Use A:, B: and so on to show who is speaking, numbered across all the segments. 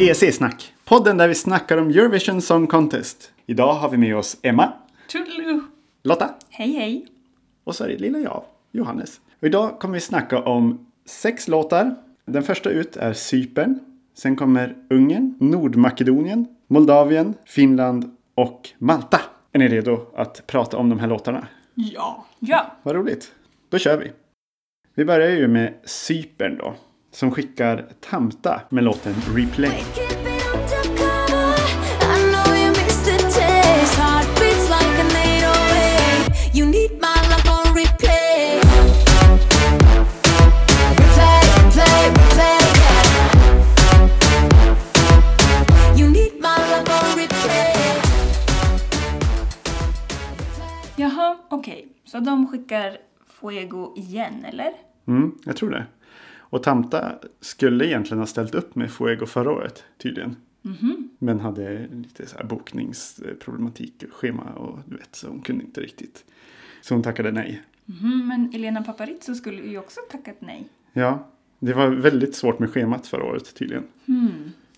A: ESC-snack. E Podden där vi snackar om Eurovision Song Contest. Idag har vi med oss Emma,
B: Toodaloo!
A: Lotta
B: Hej hej!
A: och så är det lilla jag, Johannes. Och idag kommer vi snacka om sex låtar. Den första ut är Cypern. Sen kommer Ungern, Nordmakedonien, Moldavien, Finland och Malta. Är ni redo att prata om de här låtarna?
B: Ja! Ja!
A: Vad roligt. Då kör vi. Vi börjar ju med Cypern då, som skickar Tamta med låten Replay.
C: Keep it undercover. I know you missed the taste. Heart beats like an 808. You need my love on replay. Replay, replay, replay, yeah. You need my love on replay.
B: Jaha, okej. Så de skickar Fuego igen, eller?
A: Mm, jag tror det. Och Tamta skulle egentligen ha ställt upp med Fuego förra året, tydligen. Men hade lite så här bokningsproblematik, och schema och du vet, så hon kunde inte riktigt. Så hon tackade nej.
B: Mhm, men Elena Paparizou skulle ju också tackat nej.
A: Ja, det var väldigt svårt med schemat förra året tydligen.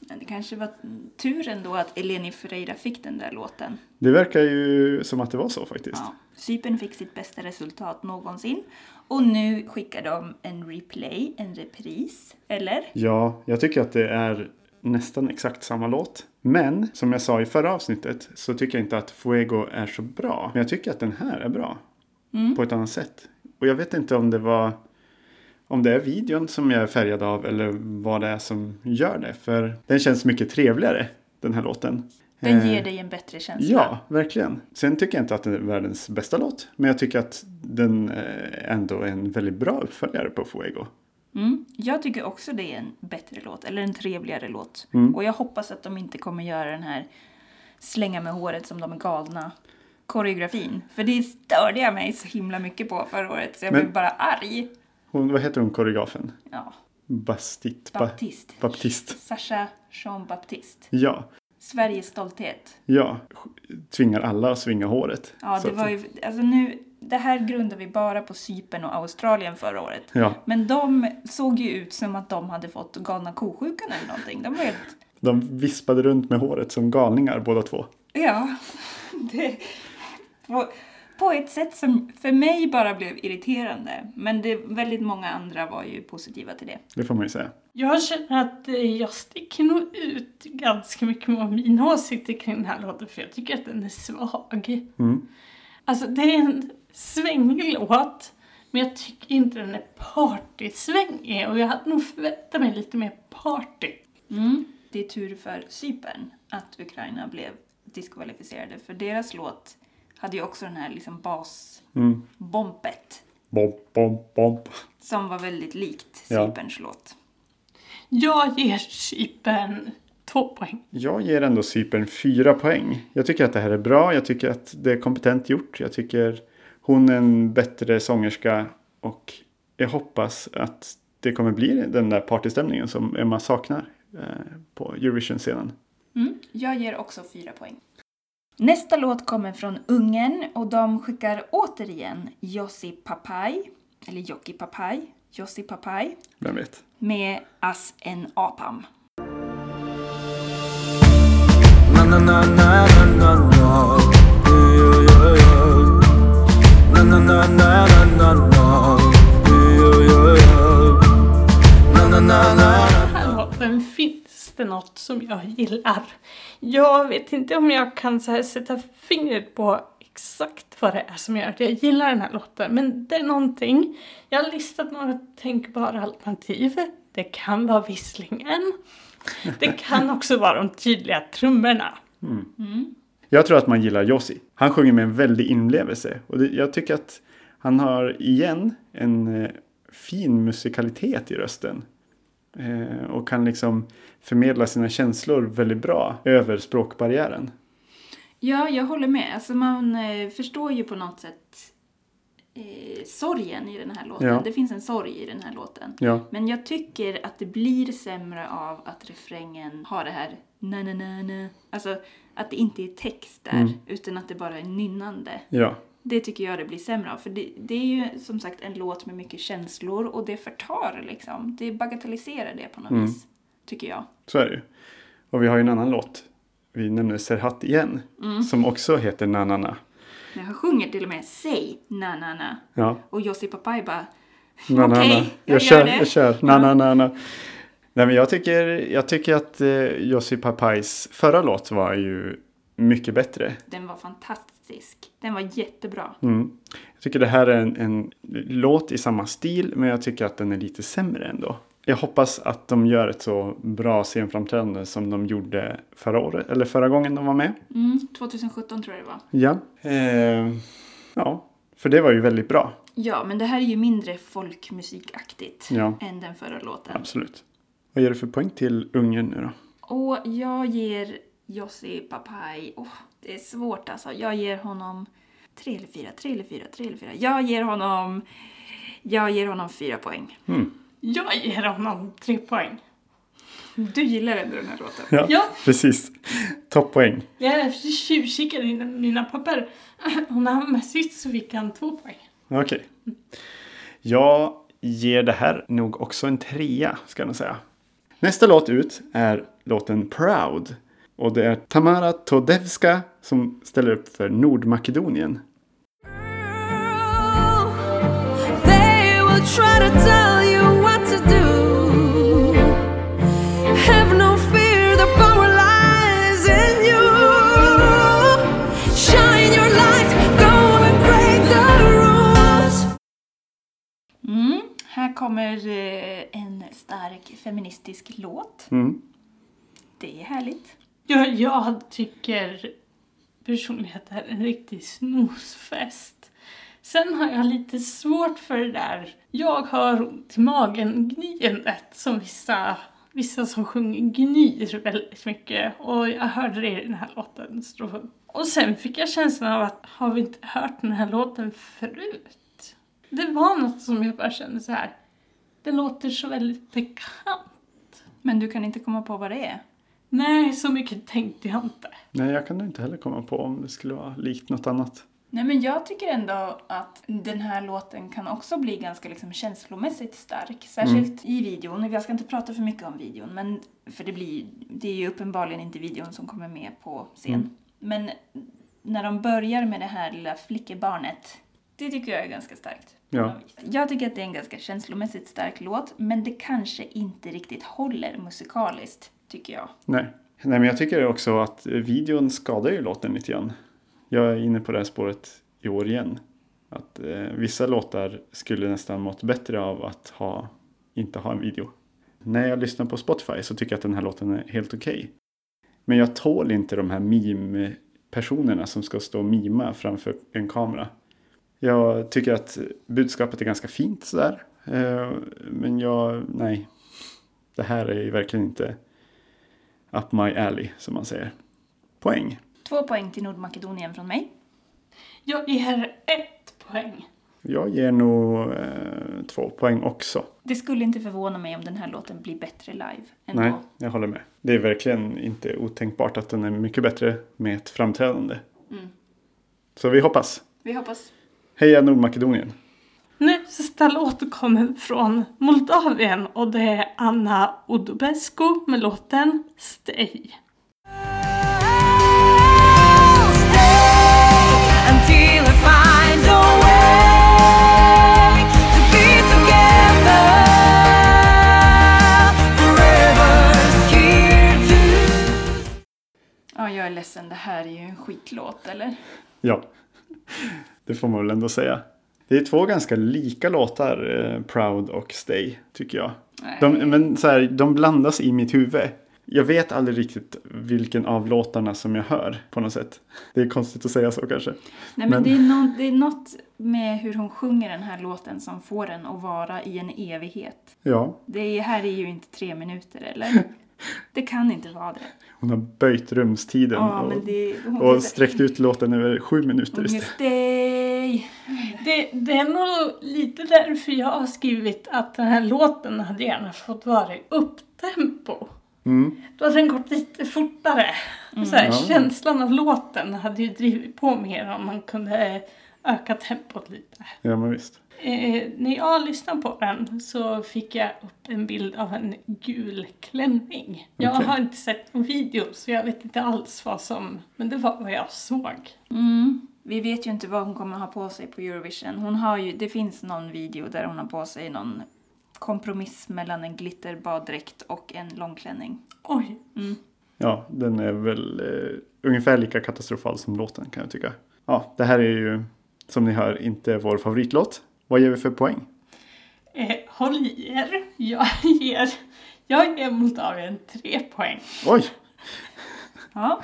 B: Men det kanske var tur ändå att Eleni Ferreira fick den där låten.
A: Det verkar ju som att det var så faktiskt.
B: Ja. Cypern fick sitt bästa resultat någonsin och nu skickar de en replay, en repris, eller?
A: Ja, jag tycker att det är nästan exakt samma låt. Men som jag sa i förra avsnittet så tycker jag inte att Fuego är så bra. Men jag tycker att den här är bra. På ett annat sätt. Och jag vet inte om det var om det är videon som jag är färgad av eller vad det är som gör det. För den känns mycket trevligare, den här låten.
B: Den
A: Eh,
B: ger dig en bättre känsla.
A: Ja, verkligen. Sen tycker jag inte att den är världens bästa låt. Men jag tycker att den eh, ändå är en väldigt bra uppföljare på Fuego.
B: Mm. Jag tycker också det är en bättre låt, eller en trevligare låt.
A: Mm.
B: Och jag hoppas att de inte kommer göra den här slänga med håret som de är galna koreografin. För det störde jag mig så himla mycket på förra året så jag
A: Men-
B: blev bara arg.
A: Hon, vad heter hon, koreografen?
B: Ja.
A: Bastit. ba-
B: Baptist.
A: Baptist.
B: Sasha Jean Baptiste.
A: Ja,
B: Sveriges stolthet.
A: ja. Tvingar alla att svinga håret.
B: Ja,
A: Så
B: det
A: att-
B: var ju, alltså nu, det här grundar vi bara på Cypern och Australien förra året.
A: Ja,
B: Men de såg ju ut som att de hade fått galna kosjukan eller någonting. De var helt
A: de vispade runt med håret som galningar båda två.
B: Ja, det, på, på ett sätt som för mig bara blev irriterande. Men det, väldigt många andra var ju positiva till det.
A: Det får man ju säga.
D: Jag känner att eh, jag sticker nog ut ganska mycket med mina åsikter kring den här låten för jag tycker att den är svag.
A: Mm.
D: Alltså det är en svängig låt men jag tycker inte den är partysvängig och jag hade nog förväntat mig lite mer party.
A: Mm.
B: Det är tur för Cypern att Ukraina blev diskvalificerade för deras låt hade ju också den här liksom
A: Mm.
B: basbompet
A: Bomp, bomp, bomp.
B: som var väldigt likt
A: Ja.
B: Cyperns låt.
D: Jag ger Cypern två poäng.
A: Jag ger ändå Cypern fyra poäng. Jag tycker att det här är bra. Jag tycker att det är kompetent gjort. Jag tycker hon är en bättre sångerska och jag hoppas att det kommer bli den där partystämningen som Emma saknar eh, på Eurovision-scenen.
B: Mm, jag ger också fyra poäng. Nästa låt kommer från Ungern och de skickar återigen Jossi Papai, eller Jocki Papai, Jossi Papai
A: Vem vet?
B: med As en apam.
E: Na na na na na na na. Yeah, yeah, yeah. Na na na na na na na. Yeah, yeah, yeah. Na na na na. na.
D: Den här låten finns det något som jag gillar. Jag vet inte om jag kan så här sätta fingret på exakt vad det är som gör att jag gillar den här låten, men det är någonting. Jag har listat några tänkbara alternativ. Det kan vara visslingen. Det kan också vara de tydliga trummorna.
A: Jag tror att man gillar Yossi. Han sjunger med en väldig inlevelse. Och det, jag tycker att han har igen en eh, fin musikalitet i rösten. Eh, och kan liksom förmedla sina känslor väldigt bra över språkbarriären.
B: Ja, jag håller med. Alltså man eh, förstår ju på något sätt eh, sorgen i den här låten.
A: Ja.
B: Det finns en sorg i den här låten.
A: Ja,
B: Men jag tycker att det blir sämre av att refrängen har det här na na na na. Alltså att det inte är text där,
A: Mm.
B: utan att det bara är nynnande.
A: ja,
B: Det tycker jag det blir sämre av. För det, det är ju som sagt en låt med mycket känslor och det förtar liksom. Det bagatelliserar det på något vis, tycker jag.
A: så är det ju. Och vi har ju en annan låt. Vi nämner Serhat igen. Som också heter Nanana.
B: Han sjunger till och med Säg na-na-na.
A: Ja,
B: Och Jossi Papai bara
A: na, na,
B: Okej,
A: na.
B: jag gör
A: Jag kör,
B: det.
A: jag kör. Na, na, na, na. Nej, men jag tycker, jag tycker att eh, Jussi Papais förra låt var ju mycket bättre.
B: Den var fantastisk. Den var jättebra.
A: Mm. Jag tycker det här är en, en låt i samma stil, men jag tycker att den är lite sämre ändå. Jag hoppas att de gör ett så bra scenframträdande som de gjorde förra året, eller förra gången de var med.
B: Mm, 2017 tror jag det var.
A: Ja. Eh, ja, för det var ju väldigt bra.
B: Ja, men det här är ju mindre folkmusikaktigt
A: Ja.
B: än den förra låten.
A: Absolut. Vad ger du för poäng till Ungern nu då?
B: Och jag ger Jossi Papai... Åh, det är svårt alltså. Jag ger honom... tre eller fyra, tre eller fyra, tre eller fyra. Jag ger honom... Jag ger honom fyra poäng.
D: Jag ger honom tre poäng.
B: Du gillar ändå den här låten.
A: Ja,
D: Ja.
A: precis. Toppoäng.
D: Jag tjuvkikade i mina papper. Och när han var sist så fick han två poäng.
A: Okej. Jag ger det här nog också en trea, ska jag nog säga. Nästa låt ut är låten Proud. Och det är Tamara Todevska som ställer upp för Nordmakedonien.
C: They will try to tell you what to do. Have no fear, the power lies in you. Shine your light, go and break the rules.
B: Mm, här kommer eh, en stark feministisk låt.
A: Mm.
B: Det är härligt.
D: Jag, jag tycker personligen att det här är en riktig snosfest. Sen har jag lite svårt för det där jag har ont i magen gnyendet som vissa, vissa som sjunger gnyr väldigt mycket och jag hörde det i den här låten. så- Och sen fick jag känslan av att har vi inte hört den här låten förut? Det var något som jag bara kände så här. det låter så väldigt bekant.
B: Men du kan inte komma på vad det är.
D: Nej, så mycket tänkte jag inte.
A: Nej, jag kan nog inte heller komma på om det skulle vara likt något annat.
B: Nej men jag tycker ändå att den här låten kan också bli ganska liksom känslomässigt stark. Särskilt
A: Mm.
B: i videon. Jag ska inte prata för mycket om videon. Men, för det, blir, det är ju uppenbarligen inte videon som kommer med på scen.
A: Mm.
B: Men när de börjar med det här lilla flickebarnet. Det tycker jag är ganska starkt. på
A: Ja.
B: något vis. Jag tycker att det är en ganska känslomässigt stark låt. Men det kanske inte riktigt håller musikaliskt. Tycker jag.
A: Nej. Nej, men jag tycker också att videon skadar ju låten lite grann. Jag är inne på det här spåret i år igen. Att eh, vissa låtar skulle nästan mått bättre av att ha, inte ha en video. När jag lyssnar på Spotify så tycker jag att den här låten är helt okej. Men jag tål inte de här meme-personerna som ska stå och mima framför en kamera. Jag tycker att budskapet är ganska fint sådär. Eh, men jag, nej. Det här är ju verkligen inte up my alley, som man säger. Poäng.
B: Två poäng till Nordmakedonien från mig.
D: Jag ger ett poäng.
A: Jag ger nog eh, två poäng också.
B: Det skulle inte förvåna mig om den här låten blir bättre live. Ändå.
A: Nej, jag håller med. Det är verkligen inte otänkbart att den är mycket bättre med ett framträdande. Så vi hoppas.
B: Vi hoppas.
A: Heja Nordmakedonien!
D: Nästa låt kommer från Moldavien och det är Anna Odobescu med låten Stay.
C: Until I find a way to be together forever here to
B: Ja, jag är ledsen. Det här är ju en skitlåt, eller?
A: Ja, det får man väl ändå säga. Det är två ganska lika låtar, eh, Proud och Stay, tycker jag.
B: Nej.
A: De, men så här, de blandas i mitt huvud. Jag vet aldrig riktigt vilken av låtarna som jag hör på något sätt. Det är konstigt att säga så kanske.
B: Nej, men,
A: men-
B: Det, är nå- det är något med hur hon sjunger den här låten som får den att vara i en evighet.
A: Ja,
B: Det är, här är ju inte tre minuter, eller? Det kan inte vara det.
A: Hon har böjt rumstiden
B: Ja,
A: och,
B: men det hon
A: Mm, och sträckt ut låten över sju minuter
B: Hon är
A: istället.
B: stay.
D: Det, det är nog lite därför jag har skrivit att den här låten hade gärna fått vara i upptempo.
A: Mm.
D: Då hade den gått lite fortare. så här,
A: Ja.
D: Känslan av låten hade ju drivit på mer om man kunde öka tempot lite.
A: Ja, men visst.
D: eh, när jag lyssnade på den så fick jag upp en bild av en gul klänning. Jag
A: Okej.
D: har inte sett någon video så jag vet inte alls vad som, men det var vad jag såg.
B: Mm. Vi vet ju inte vad hon kommer ha på sig på Eurovision. Hon har ju, det finns någon video där hon har på sig någon kompromiss mellan en glitterbaddräkt och en långklänning.
D: Oj,
A: Ja, den är väl eh, ungefär lika katastrofal som låten kan jag tycka. Ja, det här är ju som ni hör inte vår favoritlåt. Vad ger vi för poäng?
D: eh, håll i er. Jag ger, jag ger Moldavien tre poäng.
A: Oj,
B: Ja.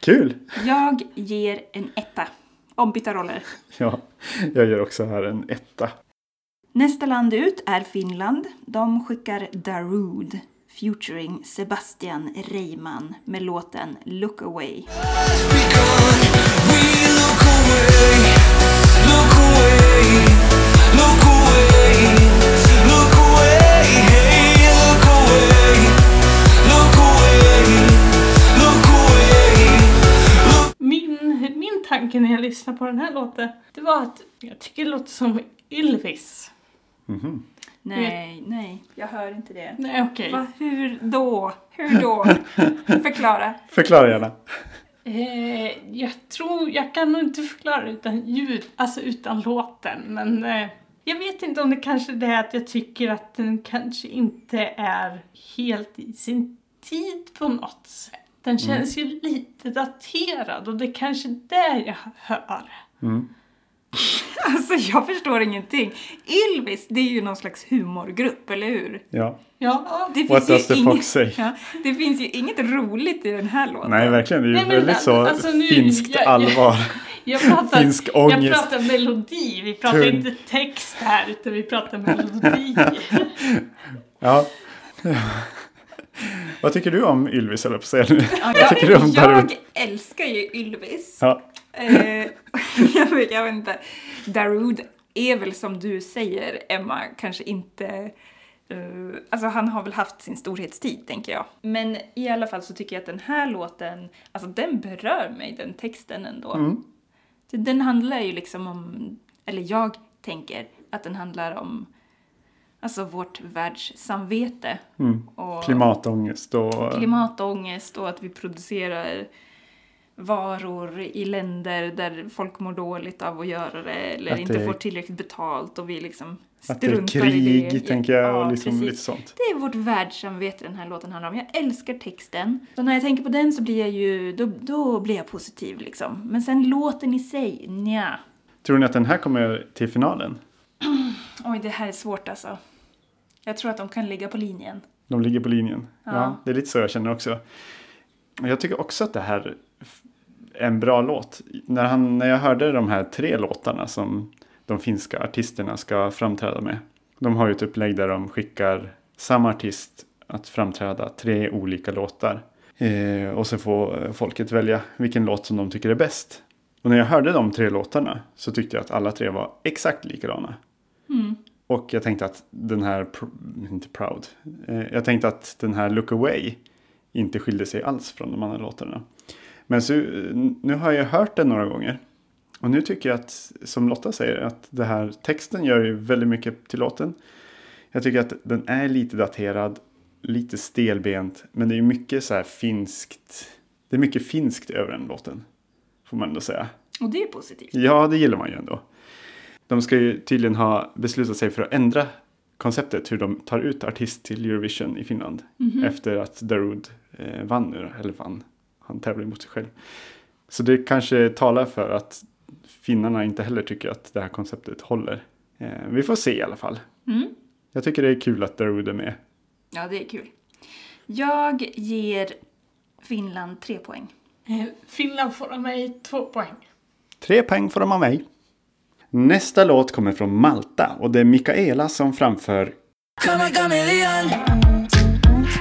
A: kul!
B: Jag ger en etta. Ombytta roller.
A: Ja, jag gör också här en etta.
B: Nästa land ut är Finland. De skickar Darude featuring Sebastian Reimann med låten Look Away.
D: Min, min tanke när jag lyssnade på den här låten, det var att jag tycker det låter som Ylvis.
A: Mhm.
B: Nej, nej, jag hör inte det.
D: Nej okej.
B: Va, hur då? Hur då? Förklara.
A: Förklara gärna.
D: Eh, jag tror, jag kan nog inte förklara utan ljud, alltså utan låten, men eh, jag vet inte om det kanske är det att jag tycker att den kanske inte är helt i sin tid på något sätt. Den
A: Mm.
D: känns ju lite daterad och det är kanske det jag hör.
B: Alltså jag förstår ingenting. Ylvis, det är ju någon slags humorgrupp, eller hur?
A: Ja.
D: Ja,
B: Det
A: What does
B: ju
A: the fox say?
B: ja, det finns ju inget roligt i den här låten.
A: Nej, verkligen. Det är ju
D: Nej, men
A: väldigt så
D: alltså nu-
A: finskt
D: jag- jag-
A: allvar.
D: jag pratar,
A: Finsk
D: Jag
A: ångest.
D: pratar melodi, vi pratar
A: Tunn.
D: inte text här utan vi pratar melodi.
A: Ja. Vad tycker du om Ylvis, eller på att säga nu?
B: Ja,
A: Vad tycker du om Darun?
B: jag älskar ju Ylvis.
A: Ja.
B: Eh, jag, vet, jag vet inte. Darude är väl som du säger, Emma, kanske inte... eh, alltså han har väl haft sin storhetstid, tänker jag. Men i alla fall så tycker jag att den här låten, alltså den berör mig, den texten ändå.
A: Mm.
B: Så Den handlar ju liksom om, eller jag tänker att den handlar om alltså vårt världssamvete.
A: Mm.
B: Och
A: Klimatångest och...
B: klimatångest och att vi producerar varor i länder där folk mår dåligt av att göra det eller
A: Att det
B: inte
A: är-
B: får tillräckligt betalt och vi liksom
A: Att det är
B: struntar i
A: krig,
B: det.
A: tänker jag,
B: Ja,
A: och liksom
B: precis.
A: lite sånt.
B: Det är vårt världssamvete den här låten handlar om. Jag älskar texten. Så när jag tänker på den så blir jag ju, då, då blir jag positiv liksom. Men sen låten i sig, nja.
A: Tror ni att den här kommer till finalen?
B: Oj, det här är svårt alltså. Jag tror att de kan ligga på linjen.
A: De ligger på linjen. Ja.
B: Ja.
A: det är lite så jag känner också. Men Jag tycker också att det här är en bra låt. När, han, när jag hörde de här tre låtarna som de finska artisterna ska framträda med. De har ju ett upplägg där de skickar samma artist att framträda tre olika låtar. Eh, och så får eh, folket välja vilken låt som de tycker är bäst. Och när jag hörde de tre låtarna så tyckte jag att alla tre var exakt likadana. Och jag tänkte att den här, pr- inte proud, eh, jag tänkte att den här Look Away inte skilde sig alls från de andra låtarna. Men så, eh, nu har jag hört den några gånger. Och nu tycker jag att, som Lotta säger, att det här texten gör ju väldigt mycket till låten. Jag tycker att den är lite daterad, lite stelbent, men det är ju mycket så här finskt. Det är mycket finskt över den låten, får man ändå säga.
B: Och det är positivt.
A: Ja, det gillar man ju ändå. De ska ju tydligen ha beslutat sig för att ändra konceptet hur de tar ut artist till Eurovision i Finland. Efter att Darude eh, vann nu, eller vann, han tävlar mot sig själv. Så det kanske talar för att finnarna inte heller tycker att det här konceptet håller. Eh, vi får se i alla fall.
B: Mm.
A: Jag tycker det är kul att Darude är med.
B: Ja, det är kul. Jag ger Finland tre poäng.
D: Eh, Finland får av mig två poäng.
A: Tre poäng får de av mig. Nästa låt kommer från Malta och det är Mikaela som framför
C: Come a chameleon. Come a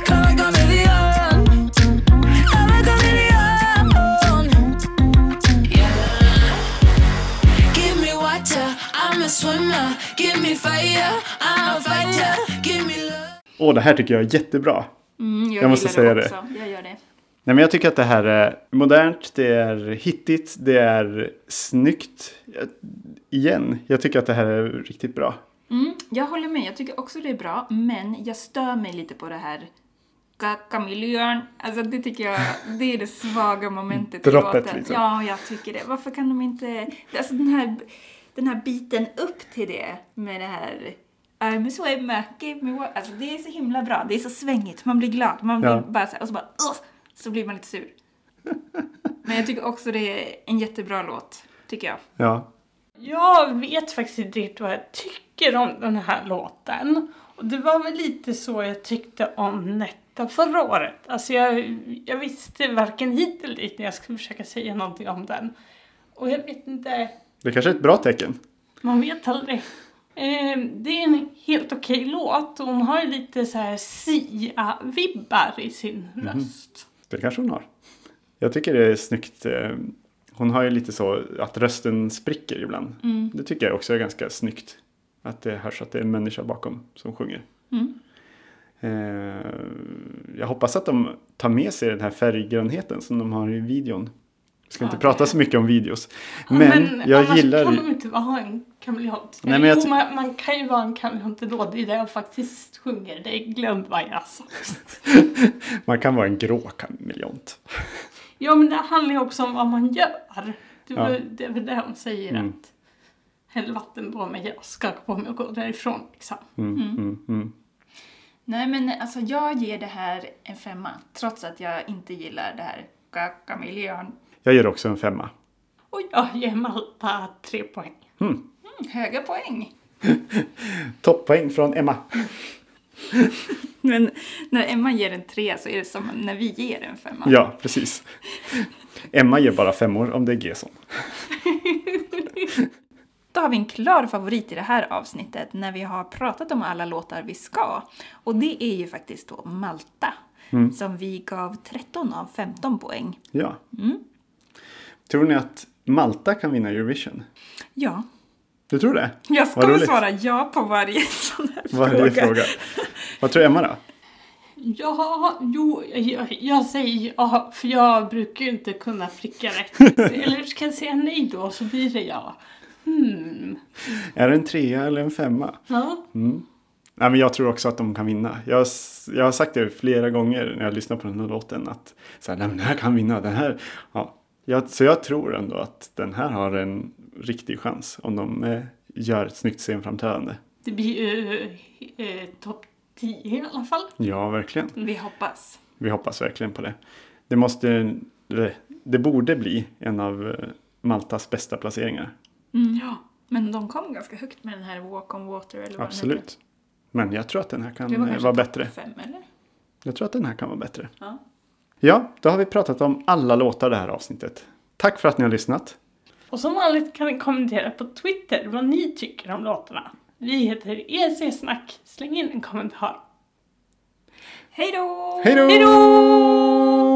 C: chameleon. Come a chameleon. Yeah. Give me water. I'm a swimmer. Give me fire. I'm a fighter. Give me love.
A: Åh, det här tycker jag är jättebra.
B: Mm, jag,
A: Jag måste säga
B: gillar
A: det.
B: också. Jag gör det.
A: Nej, men jag tycker att det här är modernt, det är hittigt, det är snyggt. Jag- Igen, jag tycker att det här är riktigt bra.
B: Mm, jag håller med, jag tycker också det är bra, men jag stör mig lite på det här kaka-miljön. Alltså det tycker jag, det är det svaga momentet i
A: Droppet,
B: låten.
A: liksom.
B: Ja, jag tycker det. Varför kan de inte, alltså den här, den här biten upp till det med det här I'm so I'm give me what. Alltså det är så himla bra, det är så svängigt, man blir glad, man blir
A: Ja.
B: bara så här, och så bara "Ugh!" så blir man lite sur. Men jag tycker också det är en jättebra låt, tycker jag.
A: Ja,
D: Jag vet faktiskt inte riktigt vad jag tycker om den här låten. Och det var väl lite så jag tyckte om Netta förra året. Alltså jag, jag visste varken hit eller dit när jag skulle försöka säga någonting om den. Och jag vet inte,
A: det kanske är ett bra tecken.
D: man vet aldrig. Eh, det är en helt okej låt. Hon har ju lite så här Sia-vibbar i sin röst.
A: Det kanske hon har. Jag tycker det är snyggt. eh, Hon har ju lite så att rösten spricker ibland.
D: Mm.
A: Det tycker jag också är ganska snyggt. Att det hörs att det är en människa bakom som sjunger.
D: Mm.
A: Eh, Jag hoppas att de tar med sig den här färggrönheten som de har i videon. Jag ska inte prata så mycket om videos. Men, jag
D: annars
A: gillar...
D: kan de inte vara en kameleont.
A: Nej, men jag
D: jo,
A: ty-
D: man, man kan ju vara en kameleont ändå. Det är det jag faktiskt sjunger. Det glömde vad jag sa.
A: Man kan vara en grå kameleont.
D: Ja, men det handlar ju också om vad man gör. Det, var,
A: Ja.
D: det är väl det hon säger
A: Mm.
D: att häll vatten på mig, jag skakar på mig och går därifrån. Liksom.
A: Mm, mm, mm.
B: Nej men alltså jag ger det här en femma trots att jag inte gillar det här kakamiljön.
A: Jag ger också en femma.
D: Och jag ger Malta tre poäng.
B: Mm, höga poäng!
A: Topppoäng från Emma.
B: Men när Emma ger en tre så är det som när vi ger en femma.
A: Ja, precis. Emma ger bara femmor om det är G-son.
B: Då har vi en klar favorit i det här avsnittet när vi har pratat om alla låtar vi ska. Och det är ju faktiskt då Malta.
A: Mm.
B: Som vi gav 13 av 15 poäng.
A: Ja. Tror ni att Malta kan vinna Eurovision?
B: Ja,
A: Du tror det?
B: jag
A: Vad
B: kommer
A: roligt.
B: svara ja på varje sån här
A: Varje
B: fråga.
A: fråga. Vad tror Emma då?
D: Ja, jo, jag, jag säger ja, för jag brukar ju inte kunna pricka rätt. Eller ska jag säga nej då, så blir det ja. Hmm.
A: Är det en trea eller en femma?
D: Ja.
A: Nej, men jag tror också att de kan vinna. Jag, har s- jag har sagt det flera gånger när jag lyssnar på den här låten. Att så här, Nej, men den här kan vinna. Den här. Ja. Jag, så jag tror ändå att den här har en riktig chans. Om de eh, gör ett snyggt scenframträdande.
D: Det blir ju eh, topp 10 i alla fall.
A: Ja, verkligen.
B: Vi hoppas.
A: Vi hoppas verkligen på det. Det, måste, det, det borde bli en av eh, Maltas bästa placeringar.
D: Ja.
B: Men de kom ganska högt med den här Walk on Water eller vad den heter.
A: Absolut. Men jag tror att den här kan
B: Det var
A: eh,
B: kanske
A: vara
B: topp
A: bättre.
B: Fem, eller?
A: Jag tror att den här kan vara bättre.
B: Ja.
A: Ja, då har vi pratat om alla låtar det här avsnittet. Tack för att ni har lyssnat.
D: Och som vanligt kan ni kommentera på Twitter vad ni tycker om låtarna. Vi heter
B: E
D: EC-snack. Släng in en kommentar.
B: Hej då!
A: Hej då!